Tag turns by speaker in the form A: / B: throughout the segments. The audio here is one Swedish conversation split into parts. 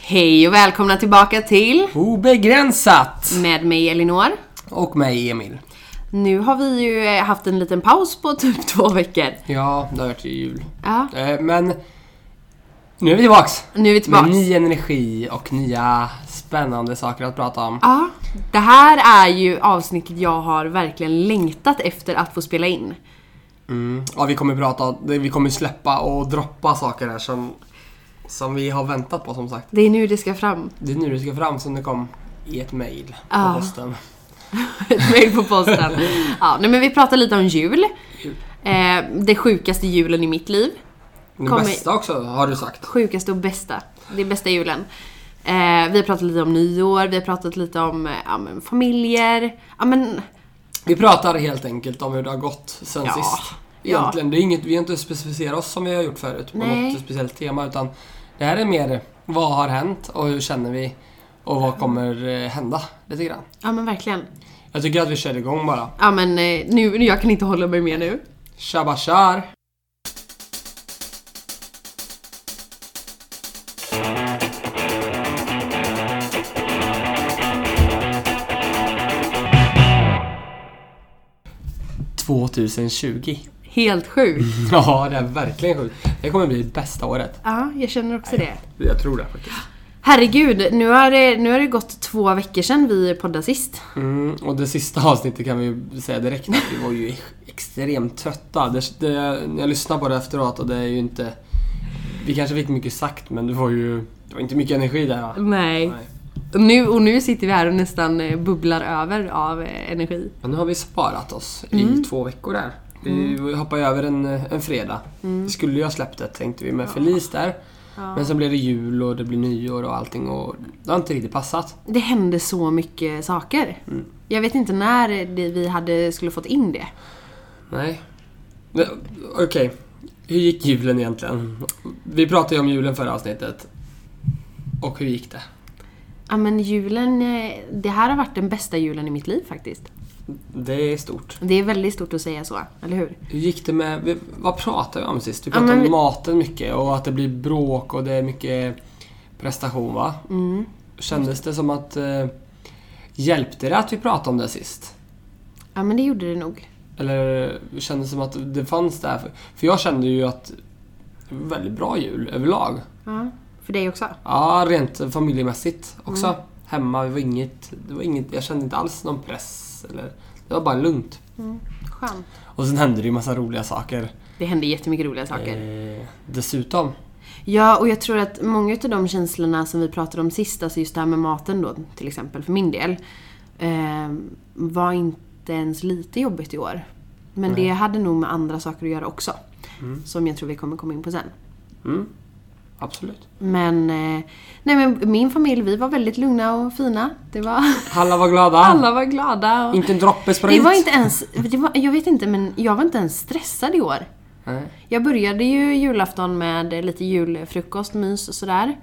A: Hej och välkomna tillbaka till
B: Obegränsat!
A: Med mig Elinor.
B: Och mig Emil.
A: Nu har vi ju eh, haft en liten paus på typ två veckor.
B: Ja, det har varit jul.
A: Ja,
B: Eh, Men nu är vi tillbaks!
A: nu är vi
B: Med
A: tillbaka.
B: ny energi och nya spännande saker att prata om.
A: Ja, det här är ju avsnittet jag har verkligen längtat efter att få spela in.
B: Mm. Ja, vi kommer prata, vi kommer släppa och droppa saker här som, som vi har väntat på som sagt.
A: Det är nu det ska fram.
B: Det är nu det ska fram som det kom i ett mail på
A: Ja.
B: posten.
A: Ett mejl på posten. Ja, nej men vi pratar lite om jul. Eh, det sjukaste julen i mitt liv.
B: Det
A: Kommer-
B: bästa också har du sagt.
A: Sjukaste och bästa. Det är bästa julen. Eh, vi har pratat lite om nyår, vi har pratat lite om eh, ja, men familjer. Ja, men,
B: Vi pratar helt enkelt om hur det har gått sen
A: Ja.
B: sist.
A: Ja.
B: Egentligen, det är inget, vi har inte specificerat oss som vi har gjort förut på
A: Nej.
B: något speciellt tema utan det här är mer vad har hänt och hur känner vi och vad kommer eh, hända lite grann.
A: ja men verkligen.
B: Jag tycker att vi kör igång bara.
A: Ja men eh, nu, jag kan inte hålla mig mer nu.
B: Tjaba tjar! ...2020.
A: Helt sjukt.
B: Ja, det är verkligen sjukt. Det kommer bli bästa året.
A: Ja, jag känner också det.
B: Jag tror det faktiskt.
A: Herregud, nu har, det, nu har det gått två veckor sedan vi poddade sist.
B: Mm, och det sista avsnittet kan vi ju säga direkt att vi var ju extremt trötta. Det, det, jag lyssnade på det efteråt och det är ju inte... Vi kanske fick mycket sagt men det var ju... Det var inte mycket energi där va?
A: Nej. Nu, och nu sitter vi här och nästan eh, bubblar över av eh, energi.
B: Men nu har vi sparat oss i två veckor där. Vi hoppade ju över en, en fredag. Vi skulle ju ha släppt det tänkte vi med Felice där. Men sen blev det jul och det blir nyår och allting och det har inte riktigt passat.
A: Det hände så mycket saker. Jag vet inte när det, vi hade, skulle fått in det.
B: Nej. Men, Okej. Hur gick julen egentligen? Vi pratade ju om julen förra avsnittet. Och hur gick det?
A: Ja men julen, eh, det här har varit den bästa julen i mitt liv faktiskt.
B: Det är stort.
A: Det är väldigt stort att säga så, eller hur?
B: Hur gick det med... vi- Vad pratade vi om sist? Vi
A: Ja,
B: pratade
A: men vi-
B: om maten mycket och att det blir bråk och det är mycket prestation va?
A: Mm.
B: Kändes det som att... Eh, hjälpte det att vi pratade om det sist?
A: Ja men det gjorde det nog.
B: Eller kändes det som att det fanns där? För, för jag kände ju att... Väldigt bra jul överlag.
A: Ja. För dig också?
B: Ja, rent familjemässigt också.
A: Mm.
B: Hemma, det var inget, det var inget, jag kände inte alls någon press. Eller, det var bara lugnt.
A: Skönt.
B: Och sen hände det ju massa roliga saker.
A: Det hände jättemycket roliga saker.
B: Eh, dessutom.
A: Ja, och jag tror att många av de känslorna som vi pratade om sist, alltså just det här med maten då till exempel, för min del, eh, var inte ens lite jobbigt i år. Men det hade nog med andra saker att göra också. Som jag tror vi kommer komma in på sen.
B: Mm, absolut.
A: Men, eh, nej men min familj, vi var väldigt lugna och fina. Det var,
B: Alla var glada.
A: alla var glada. Och,
B: Inte en droppe sprit.
A: det var inte ens, det var, jag vet inte men jag var inte ens stressad i år.
B: Nej.
A: Jag började ju julafton med lite julfrukost, mys och sådär.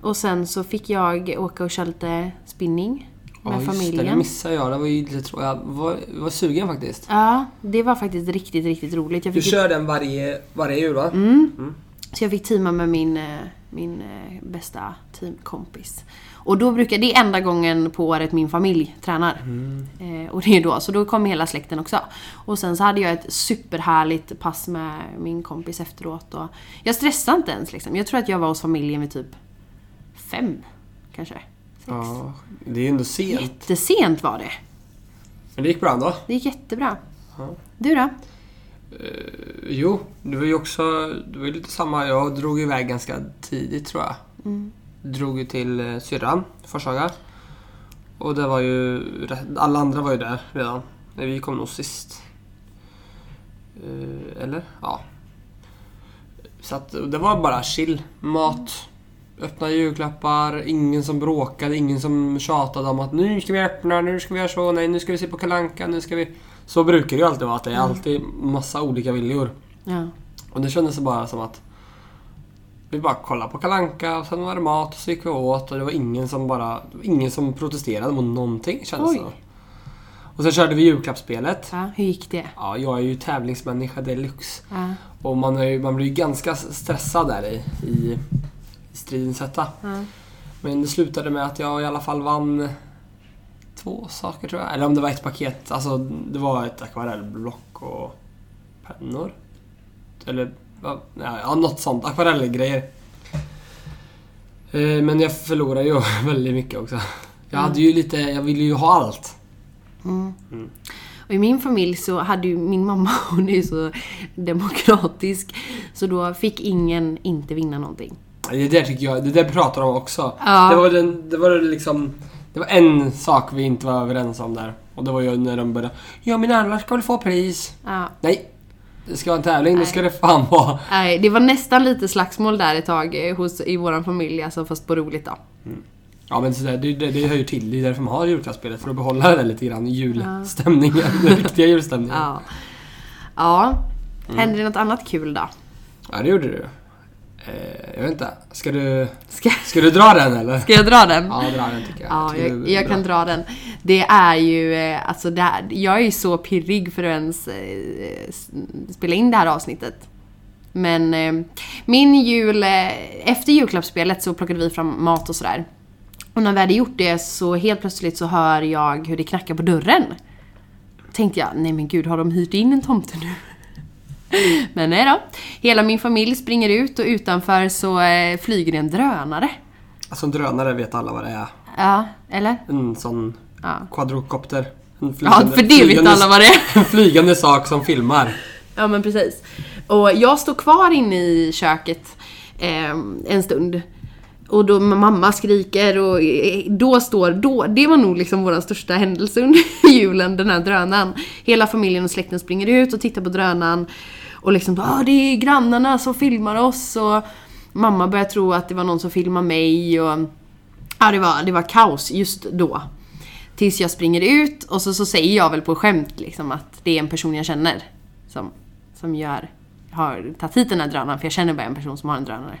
A: Och sen så fick jag åka och köra lite spinning med
B: Ja, just Det, det
A: familjen.
B: missade jag. Det var ju lite trå- jag var, var sugen faktiskt.
A: ja, det var faktiskt riktigt, riktigt roligt. Jag
B: Du
A: fick, ju-
B: kör den varje, varje jul va?
A: Mm. så jag fick teama med min, eh, min eh, bästa teamkompis. Och då brukar, det är enda gången på året min familj tränar. Eh, och det är då, så då kom hela släkten också. Och sen så hade jag ett superhärligt pass med min kompis efteråt. Och jag stressade inte ens liksom. Jag tror att jag var hos familjen vid typ fem, kanske. Sex.
B: Ja, det är ju ändå sent.
A: Jättesent var det.
B: Men det gick bra ändå.
A: Det gick jättebra.
B: Ja.
A: Du då?
B: Jo, det var ju också det var ju lite samma. Jag drog iväg ganska tidigt tror jag. Drog ju till eh, syrran, Forshaga. Och det var ju... rätt- Alla andra var ju där redan. Nej, Vi kom nog sist. Eh, Eller? Ja. Så att, och det var bara chill. Mat. Öppna julklappar, ingen som bråkade, ingen som tjatade om att nu ska vi öppna, nu ska vi göra så, nej nu ska vi se på Kalle Anka, nu ska vi... Så brukar det ju alltid vara, att det är alltid massa olika viljor.
A: Ja.
B: Och det kändes bara som att vi bara kollade på Kalle Anka och sen var det mat och så gick vi åt och det var ingen som bara... det var Ingen som protesterade mot någonting kändes
A: Oj.
B: det som. Och sen körde vi julklappsspelet.
A: ja. Hur gick det?
B: Ja, jag är ju tävlingsmänniska deluxe.
A: Ja.
B: Och man, är ju, man blir ju ganska stressad där i, i stridens hetta. Men det slutade med att jag i alla fall vann två saker tror jag. Eller om det var ett paket. Alltså det var ett akvarellblock och pennor. Eller va? ja, något sånt. Akvarellgrejer. Eh, Men jag förlorade ju väldigt mycket också. Jag hade ju lite, jag ville ju ha allt.
A: Och i min familj så hade ju min mamma, hon är ju så demokratisk, så då fick ingen inte vinna någonting.
B: Det där tycker jag, det där pratar de också.
A: Ja.
B: Det var den, det var liksom... Det var en sak vi inte var överens om där. Och det var ju när de började... Ja men alla ska väl få pris?
A: Ja.
B: Nej! Det ska vara en tävling, då ska det fan vara...
A: Nej, det var nästan lite slagsmål där ett tag eh, hos, i vår familj, alltså fast på roligt då.
B: Ja men sådär, det, det, det hör ju till. Det är därför man har julklappsspelet. För att behålla det där lite grann. Julstämningen. Den riktiga julstämningen. Ja.
A: Ja. ja. Hände det något annat kul då?
B: det gjorde du. Eh, jag vet inte. Ska du...
A: Ska,
B: Ska du dra den eller?
A: ska jag dra den?
B: Ja, dra den tycker jag.
A: Ja,
B: tycker
A: jag,
B: det är
A: jag
B: bra.
A: kan dra den. Det är ju, eh, alltså det här, jag är ju så pirrig för att ens eh, s- spela in det här avsnittet. Men eh, min jul, eh, efter julklappsspelet så plockade vi fram mat och sådär. Och när vi hade gjort det så helt plötsligt så hör jag hur det knackar på dörren. Tänkte jag, nej men gud har de hyrt in en tomte nu? Men nej då. Hela min familj springer ut och utanför så eh, flyger det en drönare.
B: Alltså en drönare vet alla vad det är.
A: Ja, eller?
B: En sån
A: Ja.
B: quadrokopter. En
A: Ja, för det vet alla vad det är.
B: En flygande sak som filmar.
A: Ja men precis. Och jag står kvar inne i köket eh, en stund. Och då mamma skriker och eh, då står, då, det var nog liksom vår största händelse under julen, den här drönaren. Hela familjen och släkten springer ut och tittar på drönaren. Och liksom ah, det är grannarna som filmar oss och mamma börjar tro att det var någon som filmar mig och ja, det, var, det var kaos just då. Tills jag springer ut och så, så säger jag väl på skämt liksom att det är en person jag känner som, som gör, har tagit hit den här drönaren för jag känner bara en person som har en drönare.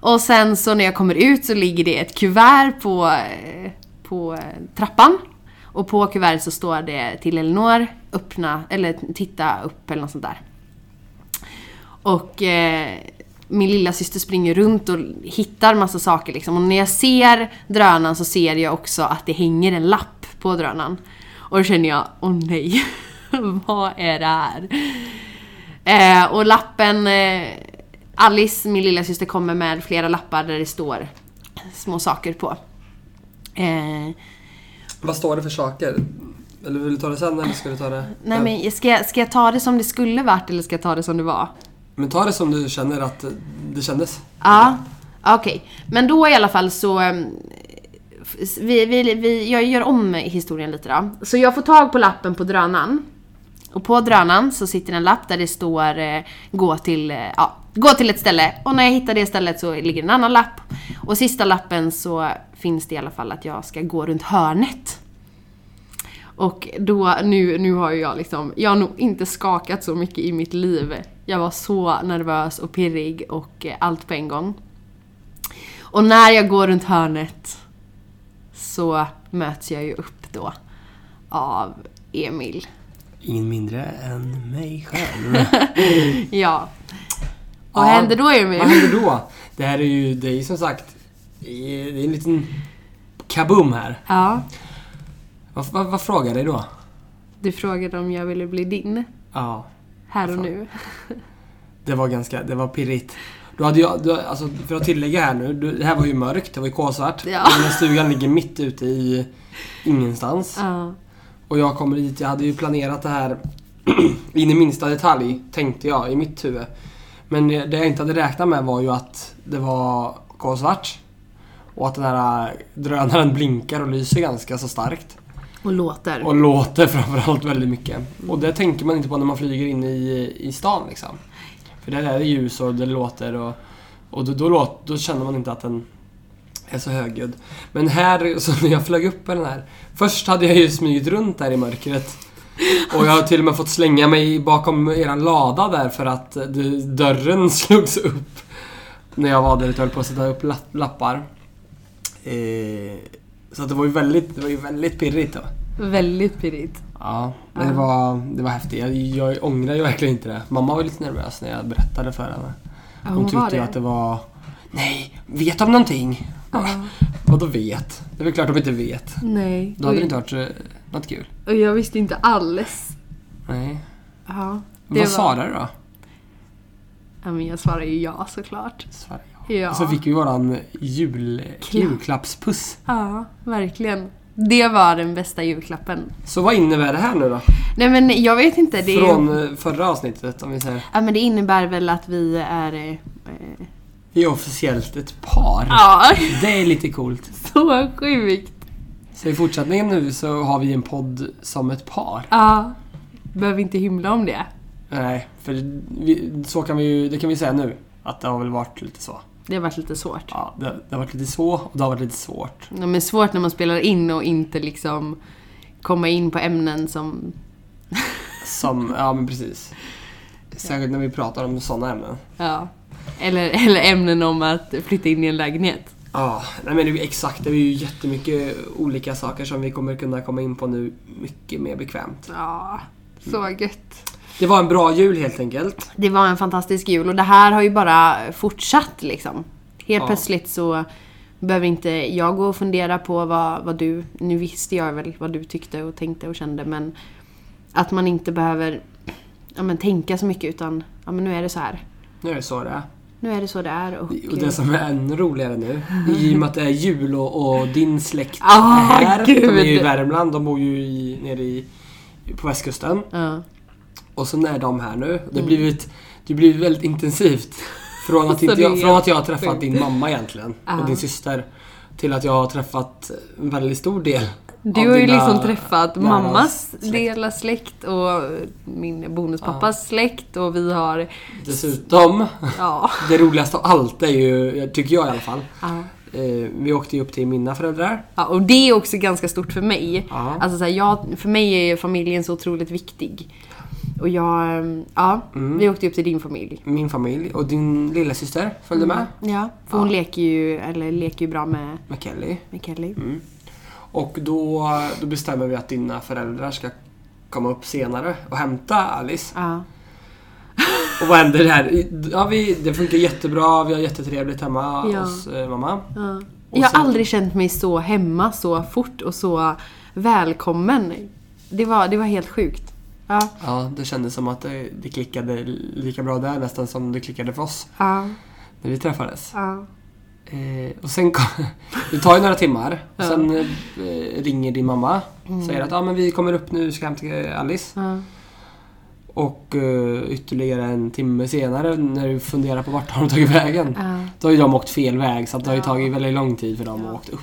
A: Och sen så när jag kommer ut så ligger det ett kuvert på, eh, på eh, trappan. Och på kuvertet så står det till Elinor, öppna, eller titta upp eller något sånt där. Och eh, min lilla syster springer runt och hittar massa saker liksom. Och när jag ser drönaren så ser jag också att det hänger en lapp på drönaren. Och då känner jag, åh nej, vad är det här? Eh, och lappen, eh, Alice, min lilla syster kommer med flera lappar där det står små saker på. Eh,
B: Vad står det för saker? Eller vill du ta det sen eller ska du ta det?
A: nej men ska jag, ska jag ta det som det skulle varit eller ska jag ta det som det var?
B: Men ta det som du känner att det kändes.
A: Ja, okej. Men då i alla fall så... ehm, f- Vi, vi, vi, jag gör om historien lite då. Så jag får tag på lappen på drönaren. Och på drönaren så sitter en lapp där det står eh, gå till, eh, ja, gå till ett ställe. Och när jag hittar det stället så ligger en annan lapp. Och sista lappen så finns det i alla fall att jag ska gå runt hörnet. Och då, nu, nu har ju jag liksom, jag har nog inte skakat så mycket i mitt liv. Jag var så nervös och pirrig och eh, allt på en gång. Och när jag går runt hörnet så möts jag ju upp då av Emil.
B: Ingen mindre än mig själv.
A: Ja. Vad
B: Ja.
A: hände då
B: Vad
A: Emil?
B: händer då? Det här är ju, det är ju som sagt, det är en liten kaboom här.
A: Ja,
B: Vad, vad, vad frågar dig då?
A: du frågade om jag ville bli din.
B: Ja,
A: Här och nu.
B: det var ganska, det var pirrigt. Du hade ju, du, alltså, för att tillägga här nu, du, det här var ju mörkt, det var ju kolsvart.
A: Ja.
B: Den här stugan ligger mitt ute i ingenstans.
A: Ja.
B: Och jag kommer dit, jag hade ju planerat det här in i minsta detalj, tänkte jag i mitt huvud. Men det det jag inte hade räknat med var ju att det var kolsvart. Och att den här drönaren blinkar och lyser ganska så starkt.
A: Och låter.
B: Och låter framförallt väldigt mycket. Och det tänker man inte på när man flyger in i, i stan liksom. För där är det ljus och det låter och, och då, då, låt, då känner man inte att den är så högljudd. Men här, så när jag flög upp med den här. Först hade jag ju smugit runt där i mörkret. Och jag har till och med fått slänga mig bakom eran lada där för att eh, det, dörren slogs upp. När jag var där ute och höll på att sätta upp la- lappar. Eh, så att det var ju väldigt, det var ju väldigt pirrigt då.
A: Väldigt pirrigt.
B: Ja, men det var, det var häftigt. Jag, jag ångrar ju verkligen inte det. Mamma var lite nervös när jag berättade för henne.
A: Ja,
B: Hon,
A: hon var
B: tyckte ju
A: det.
B: att det var... Nej, vet om någonting? Vadå vet? Det är väl klart de inte vet.
A: Nej.
B: Då hade det inte varit eh, något kul.
A: och jag visste inte alls.
B: Nej.
A: Ja.
B: Vad svarade du då?
A: Ja, men jag svarade ju ja såklart.
B: Svarade jag.
A: Ja.
B: Och så fick vi våran jul,
A: Klapp.
B: julklappspuss.
A: Ja, verkligen. Det var den bästa julklappen.
B: Så vad innebär det här nu då?
A: Nej men jag vet inte. Det,
B: Från eh, förra avsnittet om vi säger.
A: ja, men det innebär väl att vi är... eh, eh,
B: Vi är officiellt ett par.
A: Ja,
B: Det är lite coolt.
A: så sjukt.
B: Så i fortsättningen nu så har vi en podd som ett par.
A: Ja. Behöver inte hymla om det.
B: Nej, för vi, så kan vi ju, det kan vi säga nu. Att det har väl varit lite så.
A: Det har varit lite svårt.
B: Ja, det, det har varit lite så och det har varit lite svårt.
A: Ja, men svårt när man spelar in och inte liksom komma in på ämnen som...
B: Som, ja men precis. Särskilt när vi pratar om sådana ämnen.
A: Ja. Eller, eller ämnen om att flytta in i en lägenhet.
B: Ja, nej men det är ju exakt. Det är ju jättemycket olika saker som vi kommer kunna komma in på nu mycket mer bekvämt.
A: Ja, så gött.
B: Det var en bra jul helt enkelt.
A: Det var en fantastisk jul och det här har ju bara fortsatt liksom. Helt
B: Ja.
A: plötsligt så behöver inte jag gå och fundera på vad, vad du... Nu visste jag väl vad du tyckte och tänkte och kände men att man inte behöver ja, men, tänka så mycket utan ja, men nu är det så här.
B: Nu är det så det är.
A: Nu är det så det är och...
B: Och det som är ännu roligare nu, i och med att det är jul och, och din släkt
A: Ah,
B: är här. De är ju i
A: gud.
B: Värmland, de bor ju i, nere i, på västkusten.
A: Ja.
B: Och sen är de här nu. Det har blivit, det har blivit väldigt intensivt. Från att,
A: Mm. Så
B: inte
A: det är
B: jag, från att jag har
A: helt
B: träffat din mamma egentligen,
A: Ja.
B: och din syster. Till att jag har träffat en väldigt stor del
A: Du
B: av
A: har ju
B: dina
A: liksom träffat
B: nära
A: mammas
B: släkt.
A: dela släkt och min bonuspappas släkt och vi har...
B: Dessutom,
A: Ja.
B: det roligaste av allt är ju, tycker jag i alla fall.
A: Ja.
B: Eh, vi åkte ju upp till mina föräldrar.
A: ja. Och det är också ganska stort för mig.
B: Ja.
A: Alltså så här, jag, för mig är ju familjen så otroligt viktig. Och jag... Ja, vi åkte upp till din familj.
B: Min familj och din lilla syster följde
A: Mm.
B: med.
A: Ja, för hon leker ju, eller leker ju bra med,
B: Med Kelly.
A: med Kelly.
B: Och då, då bestämmer vi att dina föräldrar ska komma upp senare och hämta Alice.
A: Ja.
B: Och vad händer där? Ja, vi, det funkar jättebra, vi har jättetrevligt hemma
A: Ja.
B: hos eh, mamma.
A: Ja.
B: Och
A: Jag har
B: sen-
A: aldrig känt mig så hemma så fort och så välkommen. Det var, det var helt sjukt. Ja.
B: Ja, det kändes som att det, det klickade lika bra där nästan som det klickade för oss
A: Ja.
B: när vi träffades.
A: Ja.
B: Eh, och sen kom, Det tar ju några timmar. Och sen eh, ringer din mamma
A: Mm.
B: och säger att ah, men vi kommer upp nu, ska hämta Alice.
A: Ja.
B: Och eh, ytterligare en timme senare när du funderar på vart har de tagit vägen.
A: Ja.
B: Då har ju de åkt fel väg så att det har ju tagit väldigt lång tid för dem att
A: Ja.
B: åkt upp.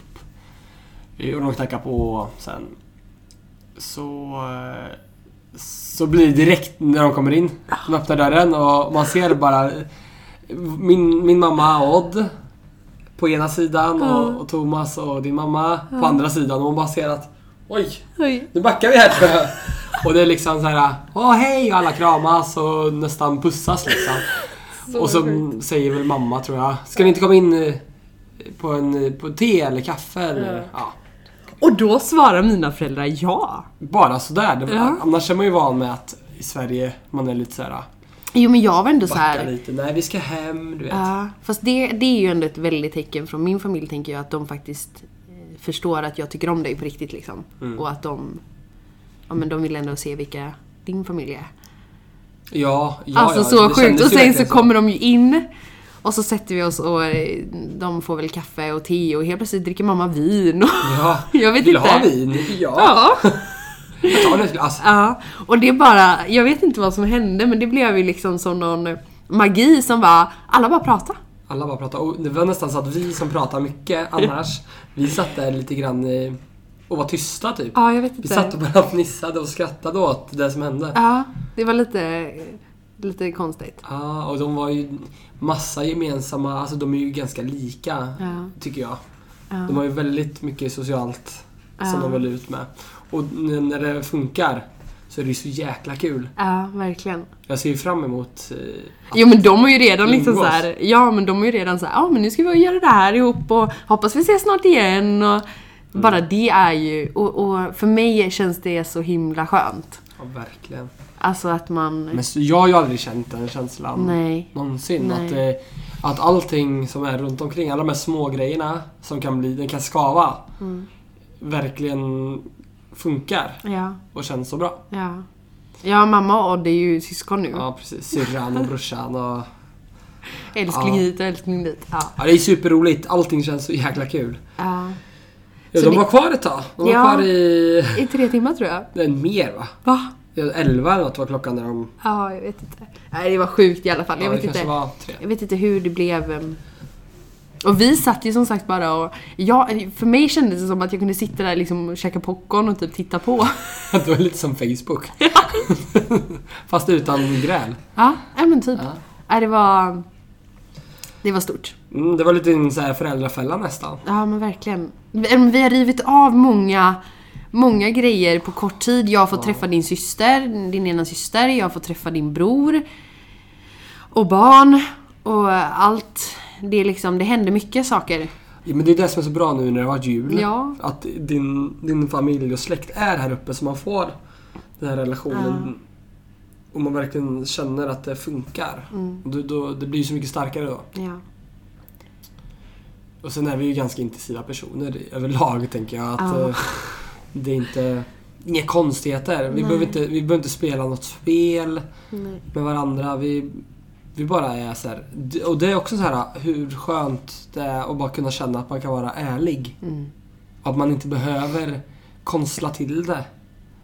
B: Eh, Och de knackar på sen. Så... eh, Så blir det direkt när de kommer in. De öppnar dörren och man ser bara eh, min, min mamma Odd på ena sidan och, och Thomas och din mamma på andra sidan och man bara ser att oj,
A: Oj.
B: nu backar vi här. Och det är liksom så här, åh hej och alla kramas och nästan pussas liksom. och så säger väl mamma tror jag, ska ni inte komma in eh, på, en, eh, på te eller kaffe eller ja.
A: Och då svarar mina föräldrar ja.
B: Bara sådär. Det var,
A: Ja.
B: Annars är man ju van med att i Sverige man är lite så här,
A: Jo men jag var ändå så
B: backar
A: här.
B: lite, nej vi ska hem du vet.
A: Ja. Fast det, det är ju ändå ett väldigt tecken från min familj tänker jag att de faktiskt eh, förstår att jag tycker om dig på riktigt liksom.
B: Mm.
A: Och att de, ja men de vill ändå se vilka din familj är.
B: Ja, ja,
A: alltså
B: ja,
A: så
B: det
A: sjukt.
B: kändes
A: Och
B: ju
A: sen så
B: verkligen
A: kommer de ju in. Och så sätter vi oss och eh, de får väl kaffe och te och helt plötsligt dricker mamma vin. Och
B: Ja,
A: Jag vet
B: vill du
A: inte.
B: ha vin? Ja,
A: ja.
B: jag tar Alltså, ett glas.
A: ja. Och det bara, jag vet inte vad som hände men det blev ju liksom som någon magi som bara, alla bara prata.
B: Alla bara pratade. Och det var nästan så att vi som pratade mycket annars, vi satt där lite grann eh, och var tysta typ.
A: Ja, jag vet inte.
B: Vi satt och bara fnissade och skrattade åt det som hände. Ja,
A: Ja, det var lite, lite konstigt.
B: och de var ju massa gemensamma, alltså de är ju ganska lika,
A: Ja.
B: tycker jag.
A: Ja.
B: De har ju väldigt mycket socialt
A: Ja.
B: som de vill ut med. Och n- när det funkar så är det ju så jäkla kul.
A: Ja, verkligen.
B: Jag ser ju fram emot... eh,
A: Jo men de har ju redan liksom
B: Umgås.
A: så här, ja men de har ju redan så här, ja men nu ska vi göra det här ihop och hoppas vi ses snart igen och
B: Mm.
A: bara det är ju, och, och för mig känns det så himla skönt.
B: Ja, verkligen.
A: Alltså att man,
B: Men så, jag har ju aldrig känt den känslan
A: nej.
B: någonsin.
A: Nej.
B: Att, eh, Att allting som är runt omkring, alla de här små grejerna som kan bli, den kan skava.
A: Mm.
B: Verkligen funkar
A: Ja,
B: och känns så bra.
A: ja. Ja, mamma och Odd är ju syskon nu.
B: Ja precis, syrran och brorsan och...
A: Älskling
B: Ja.
A: hit och älskling dit. Ja.
B: Ja det är superroligt, allting känns så jäkla kul.
A: Ja.
B: Ja,
A: Så
B: de
A: det-
B: var kvar ett tag. De var
A: Ja.
B: kvar i...
A: I tre timmar tror jag.
B: Nej, mer va?
A: Va?
B: Ja, 11 eller något var klockan när de...
A: Ja, jag vet inte. Nej, det var sjukt i alla fall.
B: ja,
A: jag,
B: det
A: vet
B: kanske
A: inte,
B: var tre.
A: jag vet inte hur det blev. ehm. Och vi satt ju som sagt bara och... Jag, för mig kändes det som att jag kunde sitta där liksom och käka popcorn och typ titta på.
B: Det var lite som Facebook. Fast utan gräl.
A: Ja, ja men typ.
B: Ja.
A: Nej, det var... Det var stort.
B: Mm, det var lite en så här föräldrafälla nästan.
A: Ja men verkligen. Vi eh, vi har rivit av många, många grejer på kort tid. Jag har fått träffa din syster, din ena syster, jag har fått träffa din bror. Och barn. Och eh, allt. Det, är liksom, det hände mycket saker.
B: Ja, men det är det som är så bra nu när det har varit jul.
A: Ja.
B: Att din, din familj och släkt är här uppe så man får den här relationen. Och man verkligen känner att det funkar.
A: Mm.
B: Och Då, då, det blir ju så mycket starkare då.
A: Ja.
B: Och sen är vi ju ganska intensiva personer i- överlag tänker jag. Att
A: Ja.
B: eh, Det är inte... Inga konstigheter. Vi behöver, inte, vi behöver inte spela något spel
A: Nej.
B: med varandra. Vi, vi bara är så här. d- Och det är också så här hur skönt det är att bara kunna känna att man kan vara ärlig.
A: Mm.
B: Att man inte behöver konstla till det.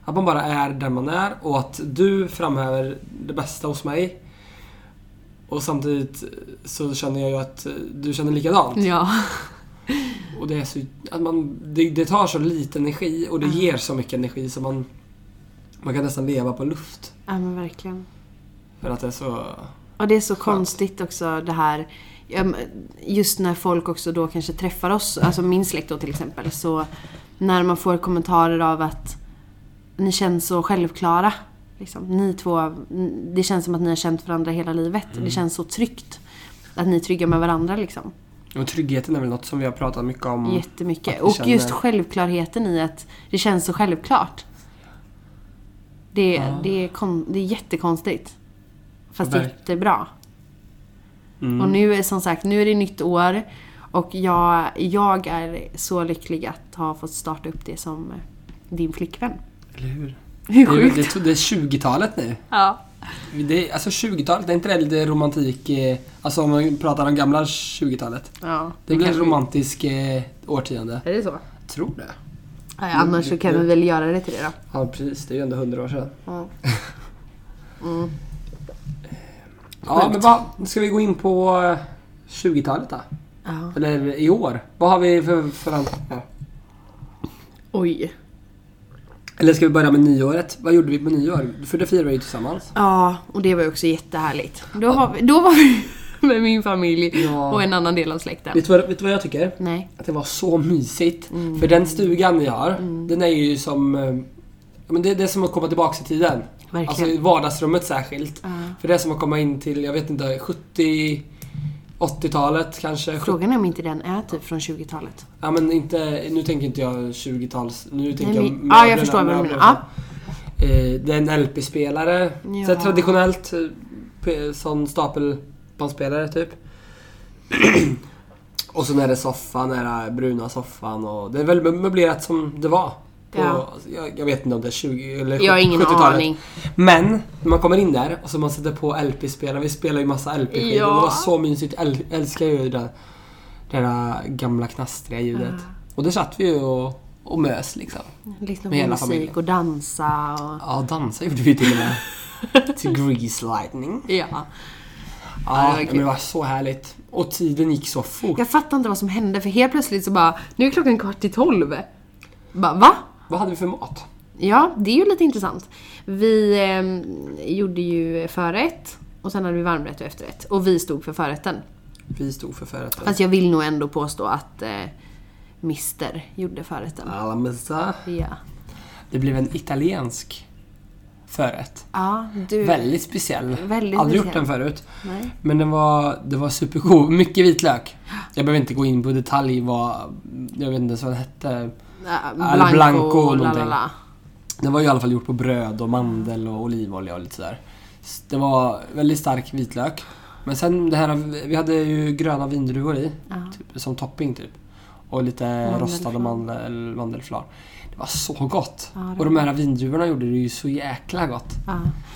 B: Att man bara är där man är och att du framhäver det bästa hos mig. Och samtidigt så känner jag ju att eh, du känner likadant.
A: Ja.
B: Och det, är så, att man, det, det tar så lite energi och det ger så mycket energi så man, man kan nästan leva på luft.
A: ja men verkligen.
B: För att det är så...
A: Och det är så konstigt också det här. ja, men Just när folk också då kanske träffar oss, alltså min släkt då till exempel. Så när man får kommentarer av att ni känns så självklara. Liksom. Ni två, n- det känns som att ni har känt varandra hela livet. Det känns så tryggt. Att ni är trygga med varandra liksom.
B: Och tryggheten är väl något som vi har pratat mycket om.
A: Jättemycket.
B: Mm. Att vi
A: Och just
B: känner-
A: självklarheten i att det känns så självklart. Det, det, är, kon, det är jättekonstigt. Fast
B: Verk- Mm.
A: jättebra. Och nu är som sagt, nu är det nytt år. Och jag, jag är så lycklig att ha fått starta upp det som eh, din flickvän.
B: Eller hur?
A: Hur
B: Det,
A: sjukt?
B: det, det är 20-talet nu.
A: Ja.
B: Det, är- alltså 20-talet, det är inte det lite romantik... eh, Alltså om man pratar om gamla 20-talet.
A: ja
B: Det blir ett
A: kanske-
B: romantiskt eh, årtionde.
A: Är det så?
B: Jag tror det.
A: Ja, annars så kan vi väl göra det till det då.
B: Ja precis, det är ju ändå 100 år sedan.
A: Ja.
B: Ja men vad, ska vi gå in på eh, 20-talet då?
A: Ja.
B: Eller i år? Vad har vi för förväntningar?
A: Oj.
B: Eller ska vi börja med nyåret? Vad gjorde vi på nyår? För det firar vi ju tillsammans.
A: Ja, och det var ju också jättehärligt. Då, har vi, då var vi med min familj
B: Ja.
A: och en annan del av släkten.
B: Vet du, vad, vet du vad jag tycker?
A: Nej.
B: Att det var så mysigt.
A: Mm.
B: För den stugan vi har, den är ju som... eh, ja, Men det, det är som att komma tillbaka i tiden.
A: Verkligen.
B: Alltså i vardagsrummet särskilt.
A: Ja.
B: För det är som att komma in till, jag vet inte, 70... 80-talet kanske?
A: Frågan är om inte den är typ från 20-talet.
B: Ja men inte, nu tänker inte jag 20-tals... Nu tänker
A: Nej,
B: jag
A: men- ja, jag
B: möblerna,
A: förstår vad du
B: möblerna.
A: menar.
B: Eh, Det är en LP-spelare.
A: Ja.
B: Så här traditionellt eh, p- sån stapelbandspelare typ. och sen är det soffan, den här bruna soffan och det är väl möblerat som det var. På, alltså,
A: Ja.
B: jag, jag vet inte om det är 20 eller 70
A: Jag har ingen aning.
B: Men när man kommer in där och så man sätter på LP-spelare, vi spelar ju massa LP-skivor.
A: Ja.
B: Det var så mysigt, jag äl- älskar ju det, det där gamla knastriga ljudet. Och där satt vi ju och, och mös liksom.
A: Lyssna
B: Med
A: på
B: hela
A: musik
B: familjen.
A: och dansa och...
B: Ja, dansa gjorde vi till och med. till Grease Lightning.
A: Ja. det
B: Ja,
A: var
B: men
A: kul.
B: det var så härligt. Och tiden gick så fort.
A: Jag fattar inte vad som hände för helt plötsligt så bara, nu är klockan kvart i tolv. Bara, va?
B: Vad hade vi för mat?
A: Ja, det är ju lite intressant. Vi eh, gjorde ju förrätt och sen hade vi varmrätt och efterrätt. Och vi stod för förrätten.
B: Vi stod för förrätten.
A: Fast jag vill nog ändå påstå att eh, Mister gjorde förrätten.
B: Alamissa.
A: Ja.
B: Det blev en italiensk förrätt.
A: Ja, du...
B: Väldigt speciell.
A: Mm. Väldigt
B: Aldrig gjort
A: speciell.
B: den förut.
A: Nej.
B: Men den var, det var supergod. Mycket vitlök. Jag behöver inte gå in på detalj vad... Jag vet inte ens vad den hette.
A: Ja, Äh,
B: Eller blanco
A: blanco, la la
B: någonting.
A: la.
B: Den var ju i alla fall gjort på bröd och mandel och olivolja och lite sådär. S- Det var väldigt stark vitlök. Men sen det här, vi hade ju gröna vindruvor i.
A: Ja.
B: Typ, som topping typ. Och lite rostade mandel, mandelflar. Det var så gott!
A: Ja, det
B: och de här vindruvorna gjorde det ju så jäkla gott.
A: Ja.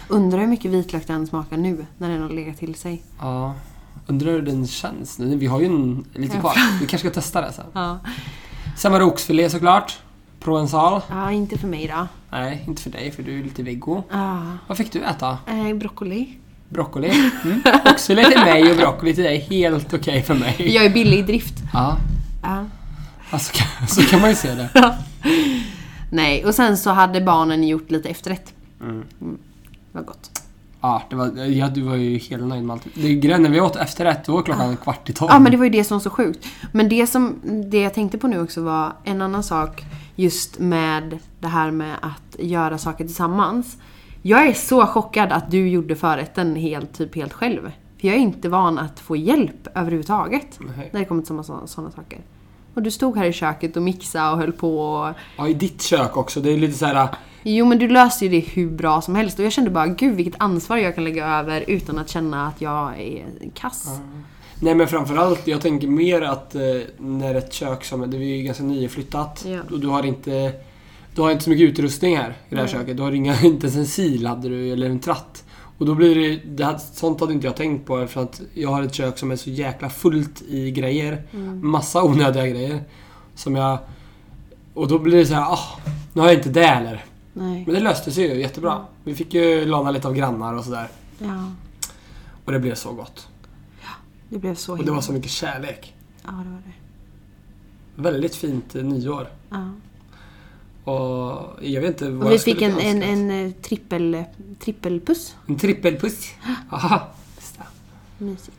A: Undrar hur mycket vitlök den smakar nu när den har legat till sig.
B: Ja. Undrar hur den känns nu. Vi har ju en, lite
A: Ja.
B: kvar. Vi kanske ska testa det sen.
A: Ja.
B: Sen var det oxfilé såklart. Provençal.
A: ja, inte för mig då.
B: Nej, inte för dig för du är lite vego.
A: Ja.
B: Vad fick du äta?
A: Eh, broccoli.
B: Broccoli? Mm. Oxfilé till mig och broccoli till dig. Helt okej för mig.
A: Jag är billig i drift.
B: Ja.
A: Ja.
B: Alltså, kan- så kan man ju se det.
A: Nej, och sen så hade barnen gjort lite efterrätt. Mm. Det var gott.
B: Ja, det var, ja, du var ju helt nöjd med allt. Det är grejen när vi åt efterrätt, då var klockan kvart i tolv.
A: Ja, men det var ju det som var så sjukt. Men det som det jag tänkte på nu också var en annan sak just med det här med att göra saker tillsammans. Jag är så chockad att du gjorde förrätten helt, typ helt själv. För jag är inte van att få hjälp överhuvudtaget
B: Nej.
A: när det kommer till sådana saker. Och du stod här i köket och mixade och höll på och
B: Ja, i ditt kök också. Det är lite så här...
A: Jo men du löste ju det hur bra som helst och jag kände bara gud vilket ansvar jag kan lägga över utan att känna att jag är kass.
B: Nej men framförallt, jag tänker mer att eh, när ett kök som... Det är ju ganska nyflyttat.
A: Ja.
B: Och du har inte... Du har inte så mycket utrustning här i det här köket. Du har inga, inte ens en sil hade du, eller en tratt. Och då blir det, det här, Sånt hade inte jag tänkt på för att jag har ett kök som är så jäkla fullt i grejer. Massa onödiga grejer. Som jag... Och då blir det så här, ah, nu har jag inte det heller.
A: Nej.
B: Men det löste sig ju jättebra. Vi fick ju låna lite av grannar och sådär.
A: Ja,
B: Och det blev så gott.
A: det blev så
B: Och det var så mycket kärlek.
A: Ja det var det.
B: Väldigt fint eh, nyår.
A: Ja.
B: Och jag vet inte vad
A: Och vi
B: jag skulle
A: fick en, en,
B: önska.
A: en eh, trippel, trippelpuss.
B: En trippelpuss. Aha. Just det.
A: Mysigt.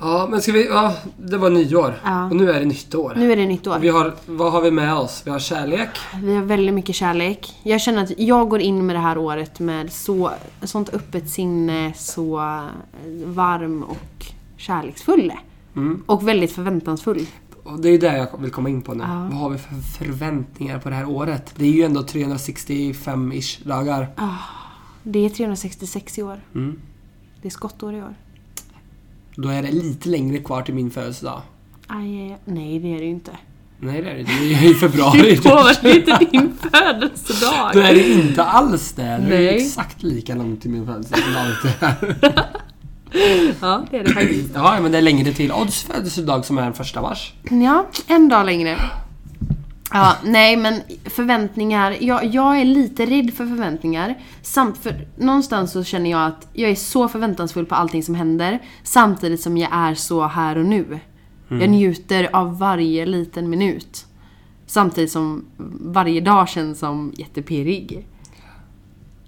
B: Ja, men ska vi... Ja, det var nyår.
A: Ja.
B: Och nu är det nytt år.
A: Nu är det nytt år.
B: Vi har, vad har vi med oss? Vi har kärlek.
A: Vi har väldigt mycket kärlek. Jag känner att jag går in med det här året med så, sånt öppet sinne, så eh, varm och kärleksfull.
B: Mm.
A: Och väldigt förväntansfull.
B: Och det är där jag vill komma in på nu.
A: Ja.
B: Vad har vi för förväntningar på det här året? Det är ju ändå 365-ish dagar.
A: Det är 366 i år.
B: Mm.
A: Det är skottår i år.
B: Då är det lite längre kvar till min födelsedag.
A: Aj, aj, aj. Nej, det är det ju inte.
B: Nej det är det inte. Det är ju i februari.
A: Det påverkar inte din födelsedag.
B: Då är det inte alls det. Det är
A: Nej.
B: exakt lika långt till min födelsedag.
A: Ja, det är det faktiskt.
B: Ja, men det är längre till Odds födelsedag som är den första mars.
A: Ja, en dag längre. Ja, nej men förväntningar. Jag, jag är lite rädd för förväntningar. Samt för någonstans så känner jag att jag är så förväntansfull på allting som händer. Samtidigt som jag är så här och nu. Jag njuter av varje liten minut. Samtidigt som varje dag känns som jättepirrig.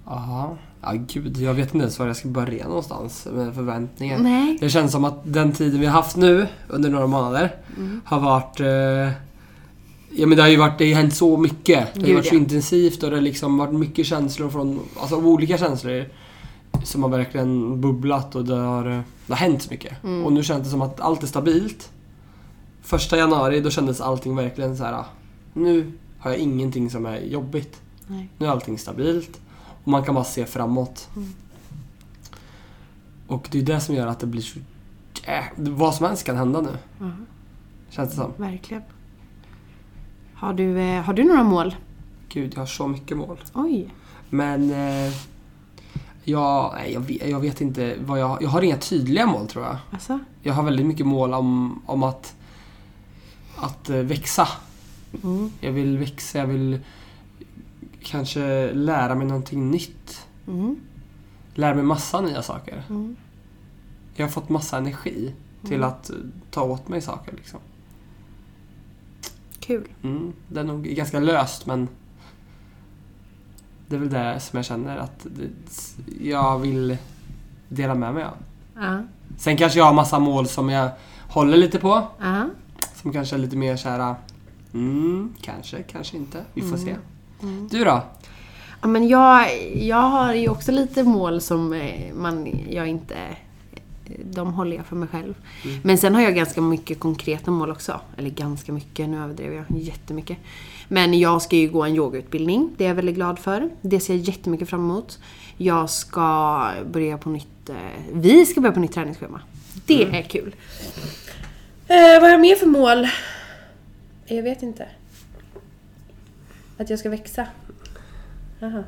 B: Jaha. Ja, gud. Jag vet inte ens var jag ska börja någonstans med förväntningen.
A: Nej.
B: Det känns som att den tiden vi har haft nu under några månader har varit... Eh, ja, men det har ju varit, det har hänt så mycket. Det har ju
A: Gud,
B: varit så
A: ja.
B: intensivt och det har liksom varit mycket känslor från... Alltså olika känslor som har verkligen bubblat och det har, det har hänt så mycket.
A: Mm.
B: Och nu känns det som att allt är stabilt. Första januari då kändes allting verkligen så här. ah, Nu har jag ingenting som är jobbigt.
A: Nej.
B: Nu är allting stabilt och man kan bara se framåt.
A: Mm.
B: Och det är det som gör att det blir så jä- Vad som helst kan hända nu.
A: Mhm.
B: Känns det som.
A: Verkligen. Har du, eh, har du några mål?
B: Gud, jag har så mycket mål.
A: Oj.
B: Men... Eh, jag, nej, jag, vet, jag vet inte vad jag... Jag har inga tydliga mål tror jag.
A: Alltså?
B: Jag har väldigt mycket mål om, om att, att eh, växa.
A: Mm.
B: Jag vill växa, jag vill kanske lära mig någonting nytt.
A: Mm.
B: Lära mig massa nya saker.
A: Mm.
B: Jag har fått massa energi till att eh, ta åt mig saker. Liksom.
A: Kul.
B: Mm. Det är nog ganska löst men det är väl det som jag känner att det, jag vill dela med mig av.
A: Ja.
B: Sen kanske jag har massa mål som jag håller lite på.
A: Ja.
B: Som kanske är lite mer såhär... Mm, kanske, kanske inte. Vi får se.
A: Mm.
B: Du då?
A: Ja, men jag, jag har ju också lite mål som eh, man, jag inte de håller jag för mig själv. Men sen har jag ganska mycket konkreta mål också. Eller ganska mycket, nu överdrev jag jättemycket. Men jag ska ju gå en yogautbildning, det är jag väldigt glad för. Det ser jag jättemycket fram emot. Jag ska börja på nytt, eh, vi ska börja på nytt träningsschema. Det är kul. Mm. Eh, vad har jag mer för mål? Jag vet inte. Att jag ska växa? Aha.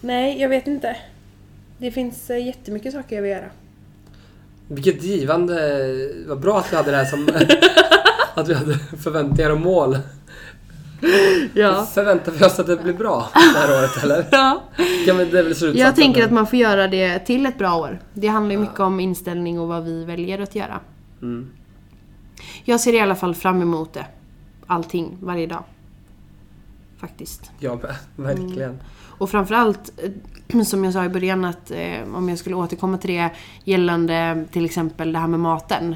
A: Nej, jag vet inte. Det finns eh, jättemycket saker jag vill göra.
B: Vilket givande... Vad bra att vi hade det här som... att vi hade förväntningar och mål. Förväntar vi oss att det blir bra det här året eller?
A: ja.
B: Kan vi, det är väl slutsatsen?
A: Jag tänker att man får göra det till ett bra år. Det handlar ju mycket om inställning och vad vi väljer att göra.
B: Mm.
A: Jag ser i alla fall fram emot det. Allting, varje dag. Faktiskt.
B: Ja, verkligen.
A: Och framförallt, eh, som jag sa i början, att eh, om jag skulle återkomma till det gällande till exempel det här med maten.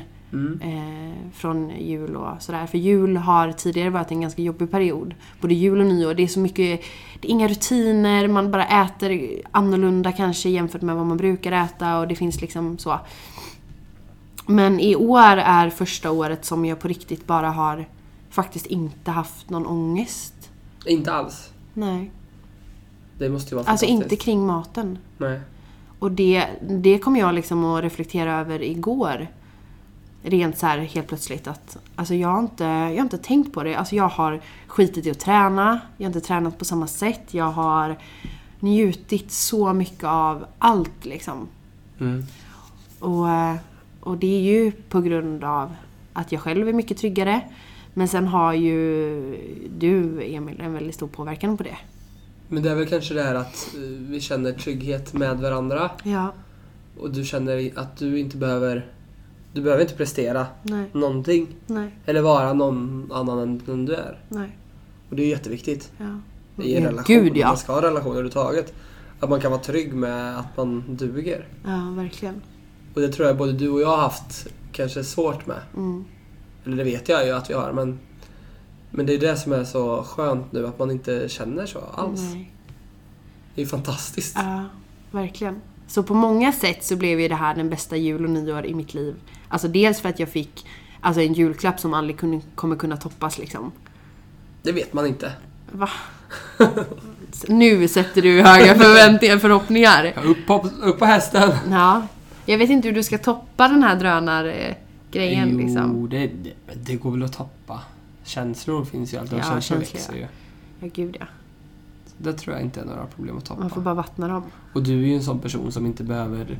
A: Eh, från jul och sådär. För jul har tidigare varit en ganska jobbig period. Både jul och nyår. Det är så mycket, det är inga rutiner, man bara äter annorlunda kanske jämfört med vad man brukar äta och det finns liksom så. Men i år är första året som jag på riktigt bara har faktiskt inte haft någon ångest.
B: Inte alls.
A: Nej.
B: Det måste ju vara
A: Alltså
B: fantastiskt.
A: inte kring maten.
B: Nej.
A: Och det, det kom jag liksom att reflektera över igår. Rent så här helt plötsligt att alltså jag, har inte, jag har inte tänkt på det. Alltså jag har skitit i att träna, jag har inte tränat på samma sätt. Jag har njutit så mycket av allt liksom.
B: Mm.
A: Och, eh, och det är ju på grund av att jag själv är mycket tryggare. Men sen har ju du Emil en väldigt stor påverkan på det.
B: Men det är väl kanske det här att eh, vi känner trygghet med varandra
A: Ja,
B: och du känner i- att du inte behöver... Du behöver inte prestera
A: nej,
B: någonting
A: nej,
B: eller vara någon annan än den du är.
A: nej.
B: Och det är jätteviktigt
A: Ja.
B: i en
A: Ja,
B: relation.
A: gud, ja.
B: Man ska ha relationer överhuvudtaget. Att man kan vara trygg med att man duger.
A: Ja, verkligen.
B: Och det tror jag både du och jag har haft kanske svårt med.
A: Mm.
B: Eller det vet jag ju att vi har men... Men det är det som är så skönt nu, att man inte känner så alls.
A: Nej.
B: Det är ju fantastiskt.
A: Ja, verkligen. Så på många sätt så blev ju det här den bästa jul och nyår i mitt liv. Alltså dels för att jag fick alltså en julklapp som aldrig kunde, kommer kunna toppas liksom.
B: Det vet man inte.
A: Va? nu sätter du höga förväntningar förhoppningar.
B: Ja, Upp på, upp på hästen!
A: Ja. Jag vet inte hur du ska toppa den här drönargrejen liksom.
B: Jo, det, det, det går väl att toppa. Känslor finns ju alltid och
A: Ja,
B: känslor
A: känslor,
B: växer ju.
A: Ja, gud ja.
B: Så det tror jag inte är några problem att toppa.
A: Man får bara vattna dem.
B: Och du är ju en sån person som inte behöver...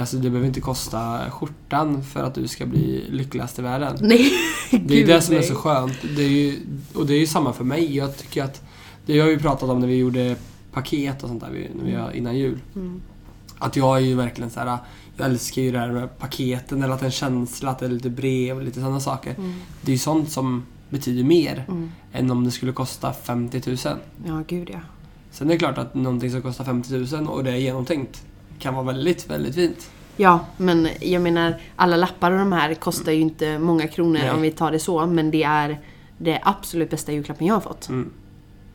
B: Alltså det behöver inte kosta skjortan för att du ska bli lyckligast i världen.
A: Nej,
B: Det är ju
A: gud,
B: det som är
A: nej.
B: så skönt. Det är ju, och det är ju samma för mig. Jag tycker att, det har vi ju pratat om när vi gjorde paket och sånt där vi- när
A: Mm.
B: vi, var- innan jul. Att jag är ju verkligen så här. jag älskar ju det här med paketen eller att det är en känsla, att det är lite brev och lite sådana saker.
A: Mm.
B: Det är ju sånt som betyder mer än om det skulle kosta 50 000.
A: Ja, gud ja.
B: Sen är det klart att någonting som kostar 50 000 och det är genomtänkt kan vara väldigt, väldigt fint.
A: Ja, men jag menar alla lappar och de här kostar ju inte många kronor
B: Nej.
A: om vi tar det så. Men det är det absolut bästa julklappen jag har fått.
B: Mm.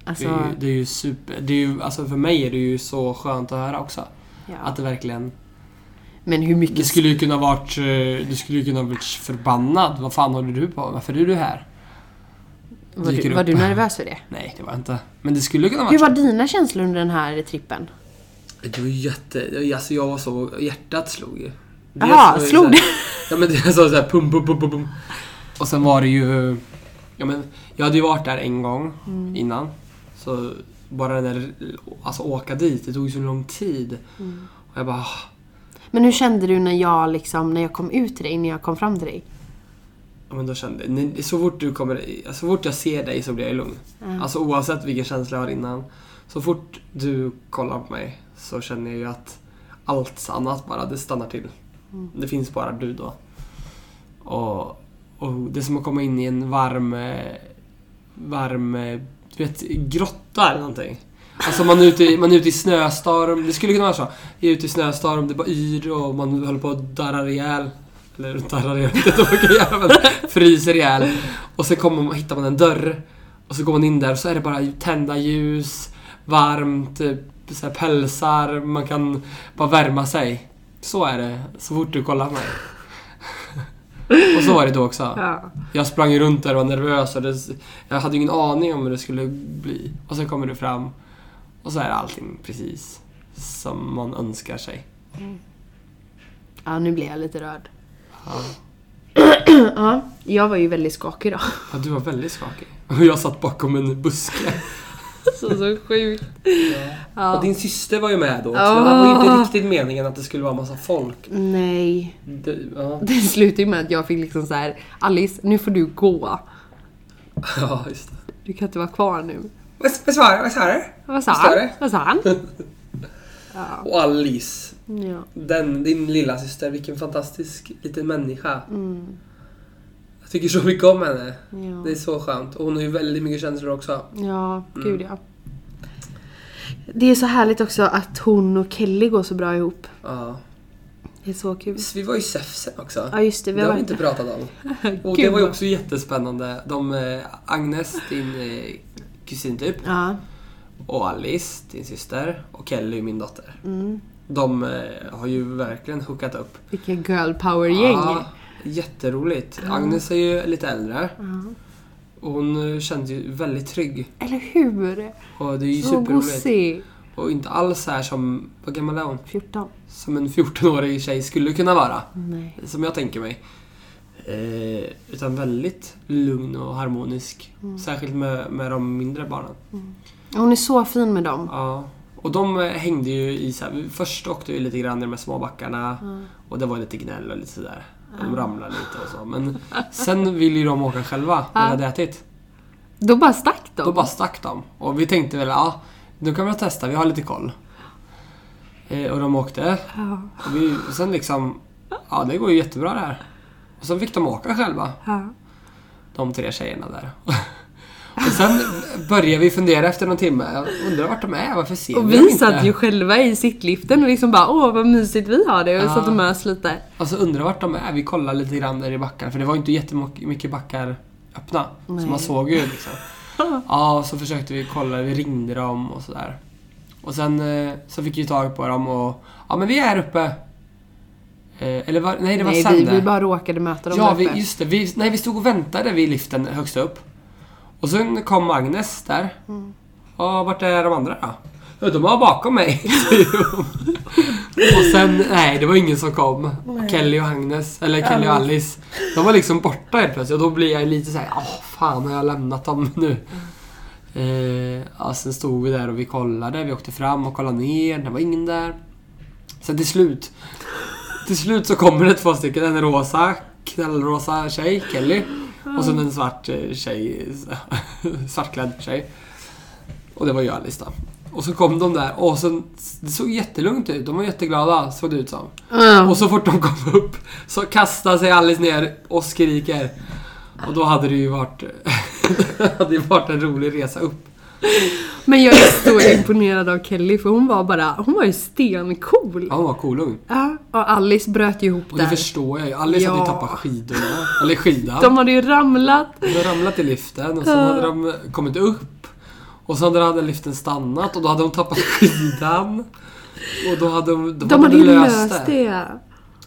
B: Det
A: Alltså,
B: är ju, det är ju super... Det är ju, alltså för mig är det ju så skönt att höra också.
A: ja.
B: Att det verkligen
A: Men hur mycket...
B: Det skulle ju kunna varit... eh, Du skulle ju kunna varit förbannad. Vad fan håller du på med? Varför är du här?
A: var,
B: dyker
A: du,
B: upp.
A: var du nervös för det?
B: Nej, det var jag inte. Men det skulle kunna
A: Hur
B: varit
A: var dina känslor under den här trippen?
B: Det var jätte... Alltså jag var så... Hjärtat slog ju. Dels
A: Jaha,
B: var ju
A: slog
B: så här-
A: det?
B: Ja men det sa såhär pum pum pum pum pum. Och sen var det ju... Ja men jag hade ju varit där en gång
A: Mm.
B: innan. Så bara den där... Alltså åka dit, det tog ju så lång tid.
A: Mm.
B: Och jag bara... ah,
A: Men hur kände du när jag liksom, när jag kom ut till dig, när jag kom fram till dig?
B: Ja, men då kände när- så fort du kommer, så fort jag ser dig så blir jag lugn. Alltså oavsett vilken känsla jag har innan. Så fort du kollar på mig så känner jag ju att allt annat bara, det stannar till. Det finns bara du då. Och, och det är som att komma in i en varm, eh, varm, eh, du vet, grotta eller någonting. Alltså man är, ute, i- man är ute i snöstorm, det skulle kunna vara så. Jag är ute i snöstorm, det bara yr och man håller på att darrar ihjäl. Eller darrar ihjäl, inte åker ihjäl, men fryser ihjäl. Och så kommer man, hittar man en dörr. Och så går man in där och så är det bara tända ljus, varmt, eh, så här pälsar, man kan bara värma sig. Så är det så fort du kollar på mig. och så var det då också.
A: Ja.
B: Jag sprang runt där och var nervös och det, jag hade ingen aning om hur det skulle bli. Och sen kommer du fram och så är allting precis som man önskar sig.
A: ja, nu blir jag lite rörd.
B: Ja.
A: Ja, jag var ju väldigt skakig då.
B: Ja, du var väldigt skakig. Och jag satt bakom en buske.
A: Så, så sjukt.
B: Och din syster var ju med då också.
A: Ja.
B: Det var ju inte riktigt meningen att det skulle vara massa folk.
A: Nej.
B: Det, ja.
A: Det slutade ju med att jag fick liksom så här: Alice, nu får du gå.
B: ja, just det.
A: Du kan inte vara kvar nu.
B: Vad sa Vad sa du?
A: Vad sa
B: Vad sa
A: han?
B: du?
A: Vad sa han?
B: Och Alice,
A: Ja.
B: den, din lilla syster, vilken fantastisk liten människa. Jag tycker så mycket om henne. Det är
A: mm, Ja.
B: så skönt. Och hon har ju väldigt mycket känslor också.
A: ja,
B: Mm.
A: gud ja. Det är så härligt också att hon och Kelly går så bra ihop.
B: Ja.
A: Det är så kul.
B: Visst, Vi var i Säfsen också.
A: Ja just det, vi
B: det har
A: har
B: vi
A: varit
B: inte pratat om. Och det
A: Gud,
B: var ju
A: vad-
B: också jättespännande. De, eh, Agnes, din eh, kusin typ,
A: Ja.
B: och Alice, din syster, och Kelly, min dotter.
A: mm.
B: De eh, har ju verkligen hookat upp.
A: Vilka girl power-gäng.
B: Ja, jätteroligt. Agnes är ju lite äldre. Och hon eh, kändes ju väldigt trygg.
A: Eller hur?
B: Och det är ju
A: Så
B: superroligt.
A: gosig.
B: Och inte alls så här som, vad gammal är hon?
A: 14.
B: Som en 14-årig tjej skulle kunna vara.
A: Nej.
B: Som jag tänker mig. Eh, utan väldigt lugn och harmonisk. Särskilt med, med de mindre barnen.
A: Hon är så fin med dem.
B: Ja. Och de eh, hängde ju i så här, Först åkte vi lite grann i de här små backarna. Och det var lite gnäll och lite sådär. De ramlade lite och så. Men sen ville ju de åka själva när vi hade ätit.
A: Då bara stack de.
B: Då bara stack de. Och vi tänkte väl, ja, nu kan vi testa, vi har lite koll. Eh, och de åkte.
A: Ja.
B: Och vi, och sen liksom, ja det går ju jättebra det här. Och sen fick de åka själva.
A: Ja.
B: de tre tjejerna där. Och sen börjar vi fundera efter någon timme. Jag undrar vart de är, varför ser
A: Och
B: vi dem
A: vi
B: inte?
A: satt ju själva i sittliften och liksom bara åh vad mysigt vi har det och
B: Ja.
A: satt och mös lite.
B: Alltså undrar vart de är. Vi kollar lite grann där i backarna för det var ju inte jättemycket backar öppna.
A: Nej.
B: Så man såg ju liksom. Ja, och så försökte vi kolla, vi ringde dem och sådär. Och sen eh, så fick vi tag på dem och ja men vi är uppe. Eh, Eller var, nej det var
A: Nej
B: sen
A: vi,
B: det.
A: vi bara råkade möta dem
B: Ja,
A: där uppe.
B: vi, just det. Vi, nej, vi stod och väntade vid liften högst upp. Och sen kom Agnes där. Och vart är de andra då? "Ja, De var bakom mig. säger hon. och sen, nej det var ingen som kom. Kelly och Agnes, eller Kelly och Alice. De var liksom borta helt plötsligt och då blir jag lite såhär, åh fan har jag lämnat dem nu? Eh, ja, sen stod vi där och vi kollade, vi åkte fram och kollade ner, det var ingen där. Sen till slut till slut så kommer det två stycken. En rosa, knallrosa tjej, Kelly. Och sen en svart eh, tjej, svartklädd tjej. Och det var ju Alice då. Och så kom de där och sen, det såg jättelugnt ut. De var jätteglada, såg det ut som.
A: Ja.
B: Och så fort de kom upp så kastar sig Alice ner och skriker. Och då hade det ju varit, det hade ju varit en rolig resa upp.
A: Men jag är så imponerad av Kelly för hon var bara, hon var ju stencool.
B: Ja, hon var kolugn.
A: Ja. Och Alice bröt ju ihop
B: Och det
A: där.
B: förstår jag ju. Alice hade ju
A: Ja.
B: tappat skidorna. Eller skidan.
A: De hade ju ramlat.
B: De hade ramlat i liften och sen hade de kommit upp. Och sen hade liften stannat och då hade de tappat skidan. Och då hade de,
A: De hade ju löst det.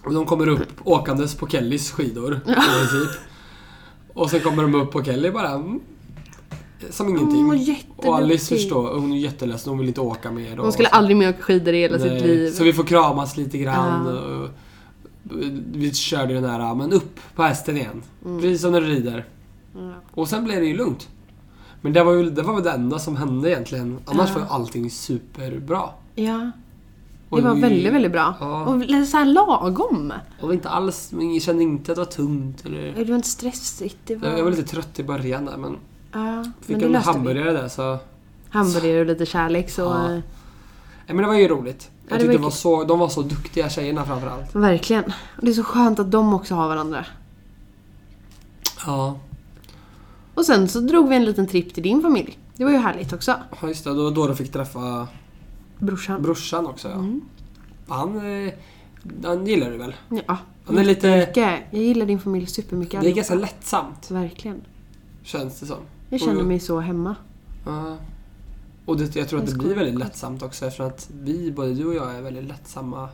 B: Och de kommer upp åkandes på Kellys skidor i princip. Och sen kommer de upp på Kelly bara. mm, Som
A: Hon var
B: ingenting.
A: jätteduktig.
B: Och Alice förstår, hon är jätteledsen, hon vill inte åka mer.
A: Hon skulle aldrig mer åka skidor i hela sitt liv.
B: Så vi får kramas lite grann.
A: Ja.
B: Och vi körde ju den här, men upp på hästen igen.
A: Mm.
B: Precis som när du rider. Och sen blev det ju lugnt. Men det var, ju, det var väl det enda som hände egentligen. Annars var ju allting superbra.
A: Ja.
B: Och
A: Det var
B: vi-
A: väldigt, väldigt bra.
B: Ja.
A: Och lite så här lagom.
B: Och inte alls, men jag kände inte att det var tungt eller...
A: Det var inte stressigt. Det var...
B: Jag var lite trött i början där men
A: Ja,
B: fick
A: men det
B: en
A: löste vi.
B: hamburgare där så...
A: Hamburgare och lite kärlek så...
B: Ja.
A: eh,
B: Nej, men det var ju roligt. Jag
A: det
B: tyckte
A: var
B: det var
A: kul.
B: så, de var så duktiga tjejerna framförallt.
A: Verkligen. Och det är så skönt att de också har varandra.
B: Ja,
A: Och sen så drog vi en liten tripp till din familj. Det var ju härligt också.
B: ja, just det. Då, då de fick träffa
A: Brorsan.
B: brorsan också ja. Han, eh, han gillar du väl?
A: Ja.
B: Han är lite...
A: Jag gillar din familj supermycket.
B: Det är
A: allihopa.
B: ganska lättsamt
A: Verkligen.
B: känns det som.
A: Jag känner
B: Och-
A: mig så hemma.
B: Ja. Och det, jag tror att det
A: Jag
B: blir
A: skojar.
B: väldigt lättsamt också eftersom att vi, både du och jag, är väldigt lättsamma.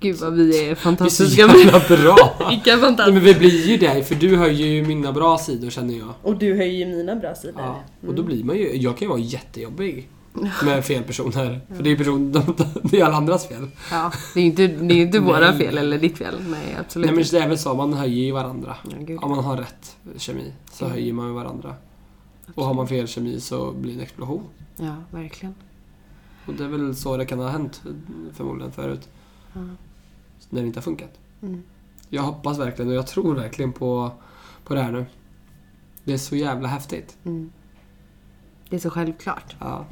A: Gud vad vi är
B: Vi är så
A: fantastiska.
B: jävla bra!
A: Vilka
B: Nej,
A: fantastiska.
B: men vi blir ju det, för du höjer ju mina bra sidor känner jag.
A: Och du höjer ju mina bra sidor.
B: Ja, Mm. och då blir man ju, jag kan ju vara jättejobbig med fel personer. För det är ju person, de, det är alla andras fel.
A: Ja, det är ju inte, det är ju inte
B: Nej.
A: våra fel eller ditt fel. Nej, absolut
B: Nej men det är väl så, man höjer ju varandra.
A: Ja, gud.
B: Om man har rätt kemi så höjer man ju varandra. Och har man fel kemi så blir det en explosion.
A: Ja, verkligen.
B: Och det är väl så det kan ha hänt förmodligen förut.
A: Ja.
B: När det inte har funkat.
A: Mm.
B: Jag hoppas verkligen och jag tror verkligen på, på det här nu. Det är så jävla häftigt.
A: Mm. Det är så självklart.
B: Ja.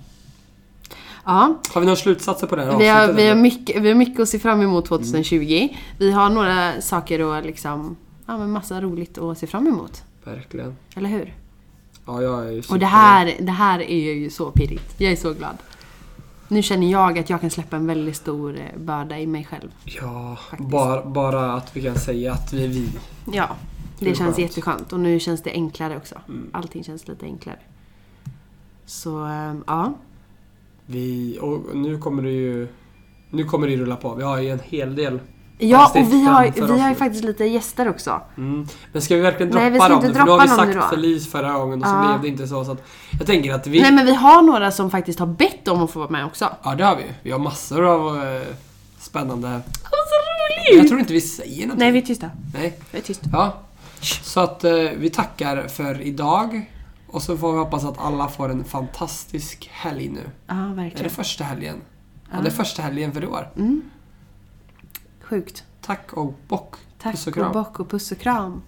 A: Ja,
B: Har vi några slutsatser på det här
A: vi har,
B: avsnittet,
A: vi, har
B: eller?
A: mycket, vi har mycket att se fram emot
B: Mm.
A: 2020. Vi har några saker och liksom, ja men massa roligt att se fram emot.
B: Verkligen.
A: Eller hur?
B: Ja, jag är
A: Och
B: ju
A: det
B: super-
A: här, det här är ju så pirrigt. Jag är så glad. Nu känner jag att jag kan släppa en väldigt stor eh, börda i mig själv.
B: Ja,
A: Faktiskt.
B: bara, bara att vi kan säga att vi är vi.
A: Ja, det, Mm.
B: Det är
A: känns
B: skönt.
A: jätteskönt. Och nu känns det enklare också. Allting känns lite enklare. Så, eh, ja.
B: vi och nu kommer det ju... Nu kommer det ju rulla på. Vi har ju en hel del.
A: Ja,
B: Fast
A: och
B: det är
A: vi har, vi
B: framför oss
A: har ju
B: nu.
A: faktiskt lite gäster också.
B: Mm. Men ska vi verkligen droppa
A: Nej, vi ska
B: dem?
A: inte
B: nu? För nu har
A: droppa
B: vi
A: dem
B: sagt
A: nu då.
B: förlis förra gången och så
A: Ja.
B: blev det inte så. så att jag tänker att vi...
A: Nej men vi har några som faktiskt har bett om att få vara med också.
B: Ja, det har vi ju. Vi har massor av eh, spännande...
A: Åh, så
B: Jag
A: roligt!
B: tror inte vi säger någonting.
A: Mm. Nej, vi är tysta.
B: Nej.
A: Vi är tysta.
B: Ja. Så att eh, vi tackar för idag. Och så får vi hoppas att alla får en fantastisk helg nu.
A: Ja,
B: Är det
A: verkligen. Mm.
B: första helgen? Ja, det är första helgen för i år.
A: Sjukt.
B: Tack och bock.
A: Tack
B: Puss och
A: och
B: kram.
A: bock och puss och kram.